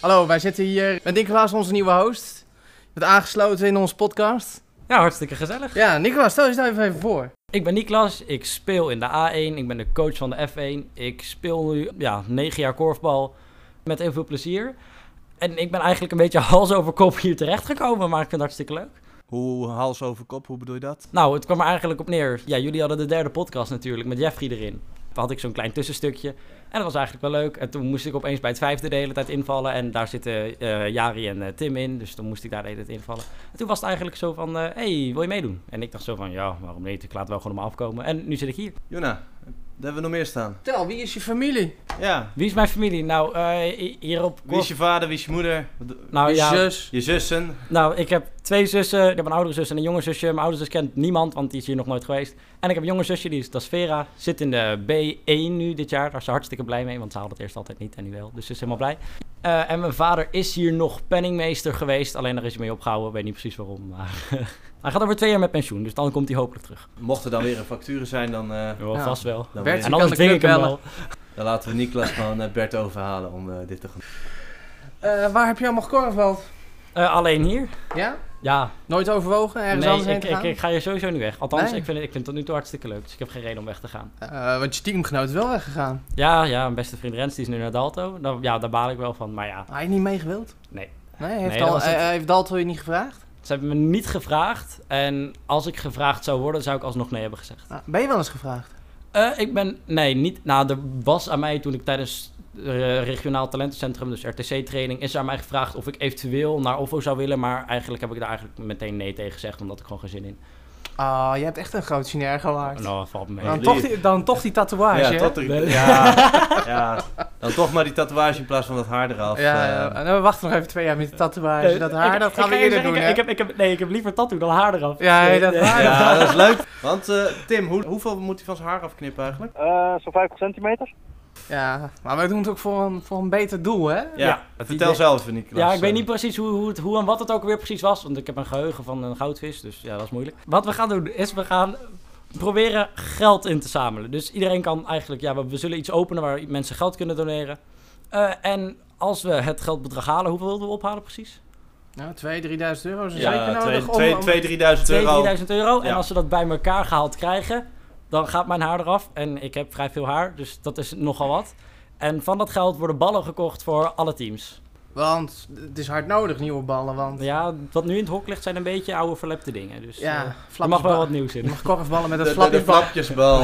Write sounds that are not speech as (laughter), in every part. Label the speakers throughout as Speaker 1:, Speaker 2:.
Speaker 1: Hallo, wij zitten hier met Nicolaas, onze nieuwe host. Je bent aangesloten in onze podcast.
Speaker 2: Ja, hartstikke gezellig.
Speaker 1: Ja, Nicolaas, stel jezelf even voor.
Speaker 2: Ik ben Niklas, ik speel in de A1, ik ben de coach van de F1. Ik speel nu ja, 9 jaar korfbal met heel veel plezier. En ik ben eigenlijk een beetje (laughs) hals over kop hier terechtgekomen, maar ik vind het hartstikke leuk.
Speaker 3: Hoe hals over kop, hoe bedoel je dat?
Speaker 2: Nou, het kwam er eigenlijk op neer. Ja, jullie hadden de derde podcast natuurlijk met Jeffrey erin. Daar had ik zo'n klein tussenstukje. En dat was eigenlijk wel leuk. En toen moest ik opeens bij het vijfde de hele tijd invallen. En daar zitten eh Jari en eh, Tim in. Dus toen moest ik daar de hele tijd invallen. En toen was het eigenlijk zo van, eh, hey, wil je meedoen? En ik dacht zo van, ja, waarom niet? Ik laat wel gewoon op me afkomen. En nu zit ik hier.
Speaker 3: Jona, daar hebben we nog meer staan.
Speaker 1: Tel, wie is je familie?
Speaker 3: Ja.
Speaker 2: Wie is mijn familie? Nou, eh hierop...
Speaker 3: Wie is je vader, wie is je moeder? Wat do-
Speaker 2: Nou
Speaker 1: je
Speaker 2: ja,
Speaker 1: zus?
Speaker 3: Je zussen?
Speaker 2: nou, ik heb twee zussen. Ik heb een oudere zus en een jonge zusje. Mijn oudere zus kent niemand, want die is hier nog nooit geweest. En ik heb een jonge zusje, die is, dat is Vera. Zit in de B1 nu dit jaar. Daar is ze hartstikke blij mee, want ze haalde het eerst altijd niet en nu wel. Dus ze is helemaal blij. Eh, en mijn vader is hier nog penningmeester geweest. Alleen daar is hij mee opgehouden. Ik weet niet precies waarom. Maar (laughs) hij gaat over twee jaar met pensioen, dus dan komt hij hopelijk terug.
Speaker 3: Mocht er dan weer een factuur zijn, dan, eh,
Speaker 2: Wel,
Speaker 1: Ja.
Speaker 2: Vast wel.
Speaker 3: dan,
Speaker 1: Bert-
Speaker 2: En
Speaker 3: weer-
Speaker 1: kan de
Speaker 2: anders dwing ik
Speaker 1: club
Speaker 2: hem
Speaker 1: bellen.
Speaker 2: wel.
Speaker 3: dan laten we Niklas gewoon eh, Bert overhalen om eh, dit te gaan.
Speaker 1: Eh, waar heb je allemaal gekorfbald?
Speaker 2: Eh, alleen hier?
Speaker 1: Ja?
Speaker 2: Ja,
Speaker 1: Nooit overwogen? Ergens
Speaker 2: nee,
Speaker 1: anders heen
Speaker 2: ik,
Speaker 1: te
Speaker 2: ik,
Speaker 1: gaan?
Speaker 2: ik ga hier sowieso niet weg. Althans,
Speaker 1: Nee.
Speaker 2: ik, vind het, ik vind het tot nu toe hartstikke leuk. Dus ik heb geen reden om weg te gaan.
Speaker 1: Eh, want je teamgenoot is wel weggegaan.
Speaker 2: Ja, ja, mijn beste vriend Rens die is nu naar Dalto. Nou, ja, daar baal ik wel van. Maar ja,
Speaker 1: Hij heeft niet meegewild?
Speaker 2: Nee.
Speaker 1: Nee, heeft,
Speaker 2: Nee,
Speaker 1: al,
Speaker 2: dat was het.
Speaker 1: eh, heeft Dalton je niet gevraagd?
Speaker 2: ze hebben me niet gevraagd. En als ik gevraagd zou worden, zou ik alsnog nee hebben gezegd.
Speaker 1: Ah, ben je wel eens gevraagd?
Speaker 2: Eh, ik ben, nee, niet. Nou, er was aan mij toen ik tijdens eh, regionaal talentencentrum, dus RTC-training, is er aan mij gevraagd of ik eventueel naar OVO zou willen. Maar eigenlijk heb ik daar eigenlijk meteen nee tegen gezegd, omdat ik gewoon geen zin in.
Speaker 1: Ah, je hebt echt een groot sinair gemaakt.
Speaker 2: Nou, valt me mee.
Speaker 1: Dan,
Speaker 3: lief.
Speaker 1: toch die, dan toch die tatoeage,
Speaker 3: ja,
Speaker 1: hè?
Speaker 3: tot er-
Speaker 2: Nee.
Speaker 1: (laughs)
Speaker 3: ja, ja, dan toch maar die tatoeage in plaats van dat haar eraf.
Speaker 1: Ja,
Speaker 3: eh.
Speaker 1: ja. En we wachten nog even twee jaar met die tatoeage. Dus Dat haar, dat gaan we eerder doen, hè?
Speaker 2: eh, ik, heb, ik heb, Nee, ik heb liever tattoo dan haar eraf. Dus, eh,
Speaker 1: Ja, nee, dat-
Speaker 3: ja. dat is leuk. Want eh, Tim, hoe, hoeveel moet hij van zijn haar afknippen eigenlijk?
Speaker 4: Eh, Zo'n 50 centimeter.
Speaker 1: Ja, maar wij doen het ook voor een, voor een beter doel, hè?
Speaker 3: Ja,
Speaker 2: Ja,
Speaker 3: vertel
Speaker 2: idee-
Speaker 3: zelf, Niklas.
Speaker 2: Ja, ik weet
Speaker 3: Eh,
Speaker 2: niet precies hoe, hoe, het, hoe en wat het ook weer precies was. Want ik heb een geheugen van een goudvis, dus ja, dat is moeilijk. Wat we gaan doen is, we gaan proberen geld in te zamelen. Dus iedereen kan eigenlijk, ja, we, we zullen iets openen waar mensen geld kunnen doneren. Eh, en als we het geldbedrag halen, hoeveel wilden we ophalen precies?
Speaker 1: Nou, 2.000, 3.000 euro is zeker
Speaker 3: Ja,
Speaker 1: nodig. om-
Speaker 3: 2,
Speaker 1: om-
Speaker 2: 2.000,
Speaker 3: 3000 euro.
Speaker 2: 3.000 euro. En
Speaker 3: Ja.
Speaker 2: als we dat bij elkaar gehaald krijgen, dan gaat mijn haar eraf. En ik heb vrij veel haar, dus dat is nogal wat. En van dat geld worden ballen gekocht voor alle teams.
Speaker 1: Want het is hard nodig, nieuwe ballen. Want
Speaker 2: Ja, wat nu in het hok ligt zijn een beetje oude verlepte dingen. Dus
Speaker 1: ja,
Speaker 2: ja, er mag wel
Speaker 1: flapjesbal-
Speaker 2: wat nieuws in.
Speaker 1: je mag korfballen met
Speaker 3: De,
Speaker 1: een
Speaker 3: de, de
Speaker 1: flapjesbal.
Speaker 3: flapjesbal.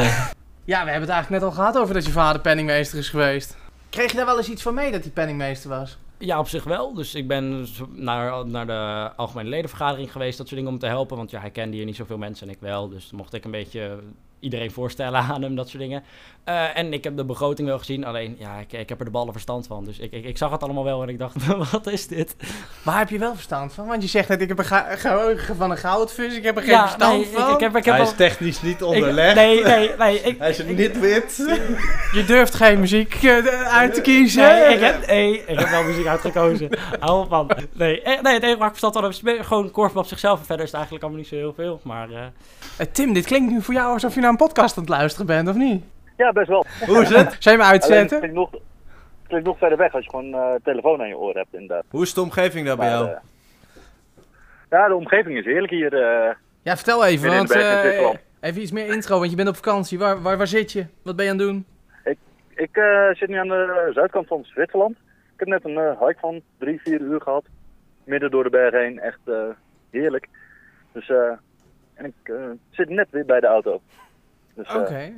Speaker 1: Ja, we hebben het eigenlijk net al gehad over dat je vader penningmeester is geweest. Kreeg je daar wel eens iets van mee dat hij penningmeester was?
Speaker 2: Ja, op zich wel. Dus ik ben zo- naar, naar de algemene ledenvergadering geweest, dat soort dingen om te helpen. Want ja, hij kende hier niet zoveel mensen en ik wel. Dus mocht ik een beetje iedereen voorstellen aan hem, dat soort dingen. Eh, en ik heb de begroting wel gezien, alleen ja, ik, ik heb er de ballen verstand van. Dus ik, ik, ik zag het allemaal wel en ik dacht, (laughs) wat is dit?
Speaker 1: Maar heb je wel verstand van? Want je zegt net, ik heb een ga- een geheugen van een goudvis, ik heb er geen
Speaker 2: ja,
Speaker 1: verstand
Speaker 2: nee,
Speaker 1: van.
Speaker 2: Ik, ik heb, ik heb
Speaker 3: Hij
Speaker 2: al-
Speaker 3: is technisch niet
Speaker 2: ik-
Speaker 3: onderlegd.
Speaker 2: nee, nee, nee. Ik,
Speaker 3: Hij is
Speaker 2: ik-
Speaker 3: een nitwit.
Speaker 1: Je durft geen muziek eh, uit te kiezen.
Speaker 2: Nee, ik heb, nee, ik heb wel muziek uitgekozen.
Speaker 3: (laughs)
Speaker 2: Hou op, man. Nee, eh, nee het enige waar ik verstand van heb is meer gewoon korfbal op zichzelf. En verder is het eigenlijk allemaal niet zo heel veel, maar... eh,
Speaker 1: Eh, Tim, dit klinkt nu voor jou alsof je naar een podcast aan het luisteren bent, of niet?
Speaker 4: Ja, best wel.
Speaker 3: Hoe is het?
Speaker 1: Zou je hem
Speaker 4: Alleen het
Speaker 1: uitzetten?
Speaker 4: klinkt nog, het klinkt nog verder weg als je gewoon eh, telefoon aan je oor hebt inderdaad.
Speaker 3: (laughs) Hoe is de omgeving daar bij
Speaker 4: Maar,
Speaker 3: jou?
Speaker 4: eh, ja, de omgeving is heerlijk hier. eh.
Speaker 1: Ja, vertel even,
Speaker 4: Ik ben in
Speaker 1: want
Speaker 4: de berg in
Speaker 1: eh,
Speaker 4: Zwitserland.
Speaker 1: even iets meer intro, want je bent op vakantie. Waar, waar, waar zit je? Wat ben je aan het doen?
Speaker 4: ik eh, zit nu aan de zuidkant van Zwitserland. Ik heb net een eh, hike van drie, vier uur gehad. Midden door de bergen heen. Echt eh, heerlijk. Dus, eh, en ik eh, zit net weer bij de auto. Dus eh,
Speaker 1: Oké.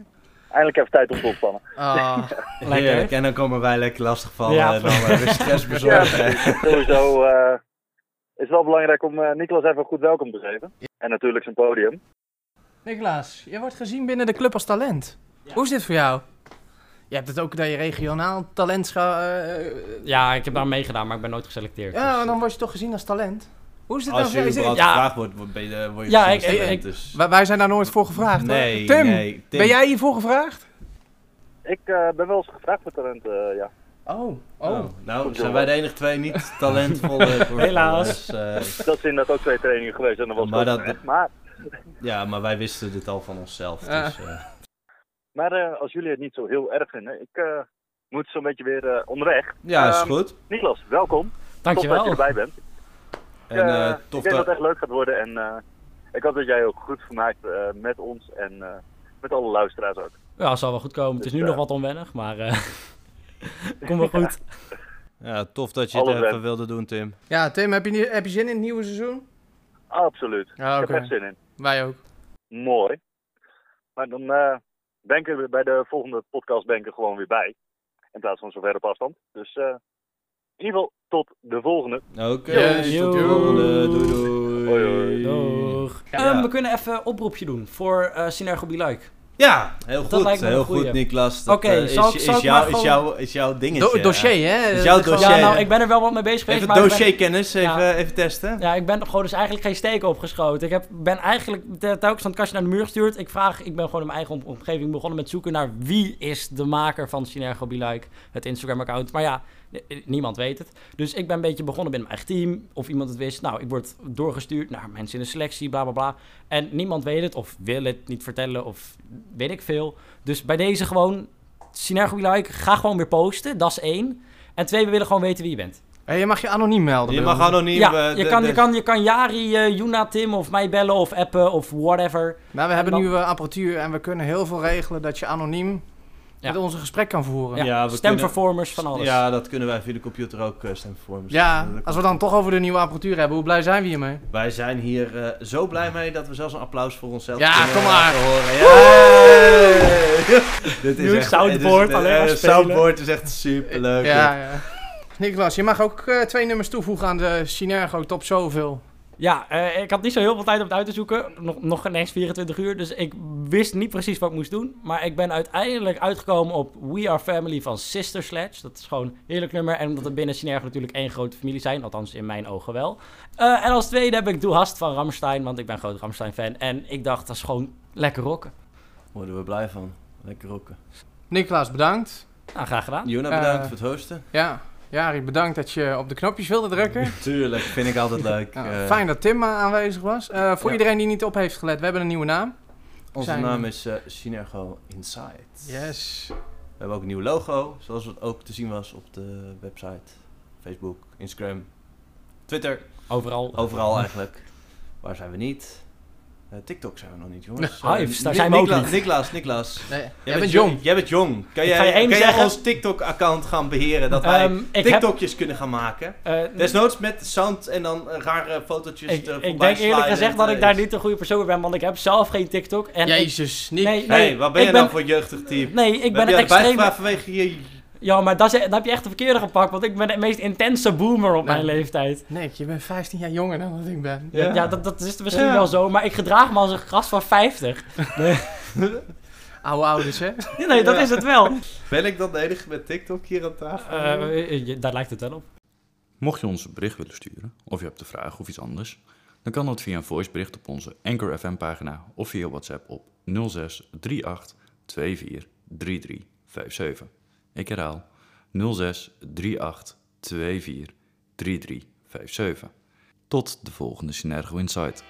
Speaker 4: eindelijk even tijd om te ontspannen. (laughs)
Speaker 1: Ah,
Speaker 2: Lekker.
Speaker 3: Heerlijk. En dan komen wij lekker lastigvallen
Speaker 2: (laughs) Ja.
Speaker 3: en dan eh, weer stress (laughs) bezorgen.
Speaker 4: Sowieso eh, is het wel belangrijk om eh Nicolas even een goed welkom te geven. En natuurlijk zijn podium.
Speaker 1: Niklaas, je wordt gezien binnen de club als talent. Hoe is dit voor jou? Je hebt het ook dat je regionaal talent... scha- eh, eh,
Speaker 2: Ja, ik heb daar meegedaan, maar ik ben nooit geselecteerd.
Speaker 1: ja,
Speaker 2: dus-
Speaker 1: maar dan word je toch gezien als talent? Hoe is dit
Speaker 3: Als
Speaker 1: nou voor
Speaker 3: je
Speaker 1: jou? Is dit-
Speaker 3: überhaupt
Speaker 2: Ja.
Speaker 3: gevraagd wordt, word, ben je, word je
Speaker 2: Ja,
Speaker 3: gezien
Speaker 2: ik-
Speaker 3: als
Speaker 2: ik-
Speaker 3: talent,
Speaker 2: ik-
Speaker 3: dus-
Speaker 1: Wij- Wij zijn daar nooit voor gevraagd, hoor.
Speaker 3: Nee,
Speaker 1: Tim,
Speaker 3: nee. Tim,
Speaker 1: ben jij hiervoor gevraagd?
Speaker 4: Ik eh, ben wel eens gevraagd voor talent, eh, ja.
Speaker 1: Oh, oh.
Speaker 3: Oh, nou, zijn wij de enige twee niet
Speaker 2: (laughs)
Speaker 3: talentvolle korfballers,
Speaker 2: Helaas.
Speaker 3: eh,
Speaker 4: Dat zijn dat ook twee trainingen geweest en dat was
Speaker 3: Maar
Speaker 4: goed.
Speaker 3: dat-
Speaker 4: Maar,
Speaker 3: ja, maar wij wisten dit al van onszelf. Dus, eh,
Speaker 4: maar eh, als jullie het niet zo heel erg vinden, ik eh, moet zo'n beetje weer eh, onderweg.
Speaker 3: Ja, is
Speaker 4: Ehm,
Speaker 3: goed.
Speaker 4: Niklas, welkom. Top dat je
Speaker 2: Dankjewel.
Speaker 4: erbij bent.
Speaker 3: En
Speaker 4: Eh,
Speaker 3: eh,
Speaker 4: ik
Speaker 3: tof
Speaker 4: denk dat het
Speaker 3: dat...
Speaker 4: echt leuk gaat worden. En eh, ik hoop dat jij ook goed vermaakt eh, met ons en eh, met alle luisteraars ook.
Speaker 2: Ja, zal wel goed komen. Het is nu
Speaker 4: Dus,
Speaker 2: nog
Speaker 4: eh,
Speaker 2: wat onwennig, maar eh (laughs) kom wel goed.
Speaker 3: Ja, tof dat je het
Speaker 4: Alles
Speaker 3: even
Speaker 4: bent.
Speaker 3: wilde doen, Tim.
Speaker 1: Ja, Tim, heb je, nie- heb je zin in het nieuwe seizoen?
Speaker 4: Absoluut.
Speaker 1: Ja,
Speaker 4: Ik heb echt zin in.
Speaker 1: Wij ook.
Speaker 4: Mooi. Maar dan eh ben ik er bij de volgende podcast ben ik er gewoon weer bij. In plaats van zover op afstand. Dus eh, in ieder geval tot de volgende.
Speaker 3: Oké,
Speaker 1: Yes,
Speaker 3: tot de
Speaker 2: yo.
Speaker 3: volgende. Doei, doei.
Speaker 4: Hoi, hoi.
Speaker 2: Doeg.
Speaker 3: Ja.
Speaker 2: Ehm, we kunnen even een oproepje doen voor eh Synergo Be Like.
Speaker 3: Ja, heel goed.
Speaker 2: lijkt me een
Speaker 3: heel
Speaker 2: goeie.
Speaker 3: goed, Niklas. Dat,
Speaker 2: Oké,
Speaker 3: eh, is,
Speaker 2: zal ik-
Speaker 3: is,
Speaker 2: zal ik
Speaker 3: jouw-
Speaker 2: maar
Speaker 3: is,
Speaker 2: gewoon-
Speaker 3: jouw, is jouw dingetje.
Speaker 1: Do- dossier, hè?
Speaker 3: eh, is
Speaker 1: Dat
Speaker 3: jouw
Speaker 1: ik gewoon-
Speaker 3: dossier.
Speaker 2: Ja, nou, ik ben er wel wat mee bezig geweest.
Speaker 3: Even
Speaker 2: maar ik ben-
Speaker 3: dossierkennis, even,
Speaker 2: Ja.
Speaker 3: even testen.
Speaker 2: Ja, ik ben gewoon dus eigenlijk geen steek opgeschoten. Ik heb, ben eigenlijk te- telkens aan het kastje naar de muur gestuurd. Ik vraag, ik ben gewoon in mijn eigen om- omgeving begonnen met zoeken naar wie is de maker van Synergo Be Like, het Instagram-account. Maar ja, n- n- niemand weet het. Dus ik ben een beetje begonnen binnen mijn eigen team. Of iemand het wist. Nou, ik word doorgestuurd naar mensen in de selectie, bla bla bla. En niemand weet het of wil het niet vertellen of weet ik veel. Dus bij deze gewoon, Synergo Be Like, ga gewoon weer posten. Dat is één. En twee, we willen gewoon weten wie je bent.
Speaker 1: Hé, je mag je anoniem melden.
Speaker 3: Je
Speaker 1: bedoel
Speaker 3: mag
Speaker 1: ik.
Speaker 3: anoniem...
Speaker 2: Ja,
Speaker 3: eh,
Speaker 2: je
Speaker 3: de-
Speaker 2: kan, je,
Speaker 3: de-
Speaker 2: kan, je kan Jari, eh Juna, Tim of mij bellen of appen of whatever.
Speaker 1: Nou, we hebben
Speaker 2: dan-
Speaker 1: nu eh, apparatuur en we kunnen heel veel regelen dat je anoniem
Speaker 2: Ja.
Speaker 1: met ons een gesprek kan voeren.
Speaker 2: Ja,
Speaker 1: Ja,
Speaker 3: Ja, we
Speaker 2: stemvervormers van alles.
Speaker 3: Ja, dat kunnen wij via de computer ook eh, stemmen voor. misschien. Dat-
Speaker 1: als we dan toch over de nieuwe apparatuur hebben, hoe blij zijn we hiermee?
Speaker 3: Wij zijn hier eh, zo blij mee dat we zelfs een applaus voor onszelf
Speaker 1: Ja,
Speaker 3: kunnen eh,
Speaker 1: kom maar.
Speaker 3: laten horen. Ja! (laughs) dit
Speaker 2: Nieuw soundboard,
Speaker 3: dit is-
Speaker 2: alleen maar
Speaker 3: eh,
Speaker 2: spelen.
Speaker 3: soundboard is echt superleuk.
Speaker 1: Ja, ja. (laughs) Niklas, je mag ook eh, twee nummers toevoegen aan de Synergo Top Zoveel.
Speaker 2: Ja, eh, ik had niet zo heel veel tijd om het uit te zoeken. Nog, nog geen eens 24 uur. Dus ik wist niet precies wat ik moest doen. Maar ik ben uiteindelijk uitgekomen op We Are Family van Sister Sledge. Dat is gewoon een heerlijk nummer. En omdat we binnen Synergo natuurlijk één grote familie zijn. Althans, in mijn ogen wel. Eh, en als tweede heb ik Doe Hast van Ramstein. Want ik ben een groot Ramstein-fan. En ik dacht, dat is gewoon lekker rocken.
Speaker 3: Worden we blij van. Lekker rocken.
Speaker 1: Niklas, bedankt.
Speaker 2: Nou, graag gedaan.
Speaker 3: Juna,
Speaker 1: Eh,
Speaker 3: bedankt voor het hosten.
Speaker 1: Ja, Jari, bedankt dat je op de knopjes wilde drukken.
Speaker 3: Tuurlijk, vind ik altijd leuk.
Speaker 1: Nou,
Speaker 3: Eh,
Speaker 1: fijn dat Tim eh, aanwezig was. Eh, voor
Speaker 3: Ja.
Speaker 1: iedereen die niet op heeft gelet, we hebben een nieuwe naam.
Speaker 3: Onze
Speaker 1: zijn-
Speaker 3: naam is eh, Synergo Inside.
Speaker 1: Yes.
Speaker 3: We hebben ook een nieuw logo, zoals het ook te zien was op de website, Facebook, Instagram, Twitter.
Speaker 2: Overal.
Speaker 3: Overal eigenlijk. Waar zijn we niet? Eh, TikTok zijn we nog
Speaker 2: (laughs)
Speaker 3: niet, jongens.
Speaker 2: Ja,
Speaker 3: Eh,
Speaker 2: Hives, daar
Speaker 3: Ni-
Speaker 2: zijn we ook
Speaker 3: Nikla-
Speaker 2: niet.
Speaker 3: Niklas, Niklas.
Speaker 1: Nee, jij,
Speaker 3: Jij
Speaker 1: bent jong.
Speaker 3: Jij bent jong. Kan
Speaker 2: Ik ga je
Speaker 3: jij,
Speaker 2: één
Speaker 3: kan jij
Speaker 2: zeggen.
Speaker 3: ons TikTok-account gaan beheren? Dat wij
Speaker 2: Ehm, ik heb,
Speaker 3: TikTokjes kunnen gaan maken.
Speaker 2: eh,
Speaker 3: Desnoods met sound en dan eh, rare fotootjes
Speaker 2: Ik,
Speaker 3: er
Speaker 2: ik
Speaker 3: voorbij
Speaker 2: denk eerlijk
Speaker 3: sliden.
Speaker 2: gezegd dat ik
Speaker 3: Eh,
Speaker 2: daar niet de goede persoon voor ben, want ik heb zelf geen TikTok. En ik,
Speaker 1: Jezus, Nick.
Speaker 2: nee,
Speaker 3: hey, wat ben
Speaker 2: ik
Speaker 3: je nou voor jeugdig type?
Speaker 2: Nee, ik
Speaker 3: We hebben
Speaker 2: ben
Speaker 3: je
Speaker 2: het
Speaker 3: erbij
Speaker 2: extreem...
Speaker 3: gevraagd vanwege je...
Speaker 2: Ja, maar dat, is, dat heb je echt de verkeerde gepakt, want ik ben de meest intense boomer op
Speaker 1: Nee.
Speaker 2: mijn leeftijd.
Speaker 1: Nick, je bent 15 jaar jonger dan dat ik ben.
Speaker 2: Ja, dat, dat is misschien
Speaker 3: Ja.
Speaker 2: wel zo, maar ik gedraag me als een gast van 50.
Speaker 1: Oude ouders, hè?
Speaker 2: Nee, dat
Speaker 3: Ja.
Speaker 2: is het wel.
Speaker 3: Ben ik dan de enige met TikTok hier aan tafel?
Speaker 2: Eh, je- daar lijkt het wel op.
Speaker 5: Mocht je ons een bericht willen sturen, of je hebt een vraag of iets anders, dan kan dat via een voicebericht op onze Anchor FM pagina of via WhatsApp op 06 38 24 33 57. Ik herhaal 06 38 24 33 57. Tot de volgende Synergo Insight.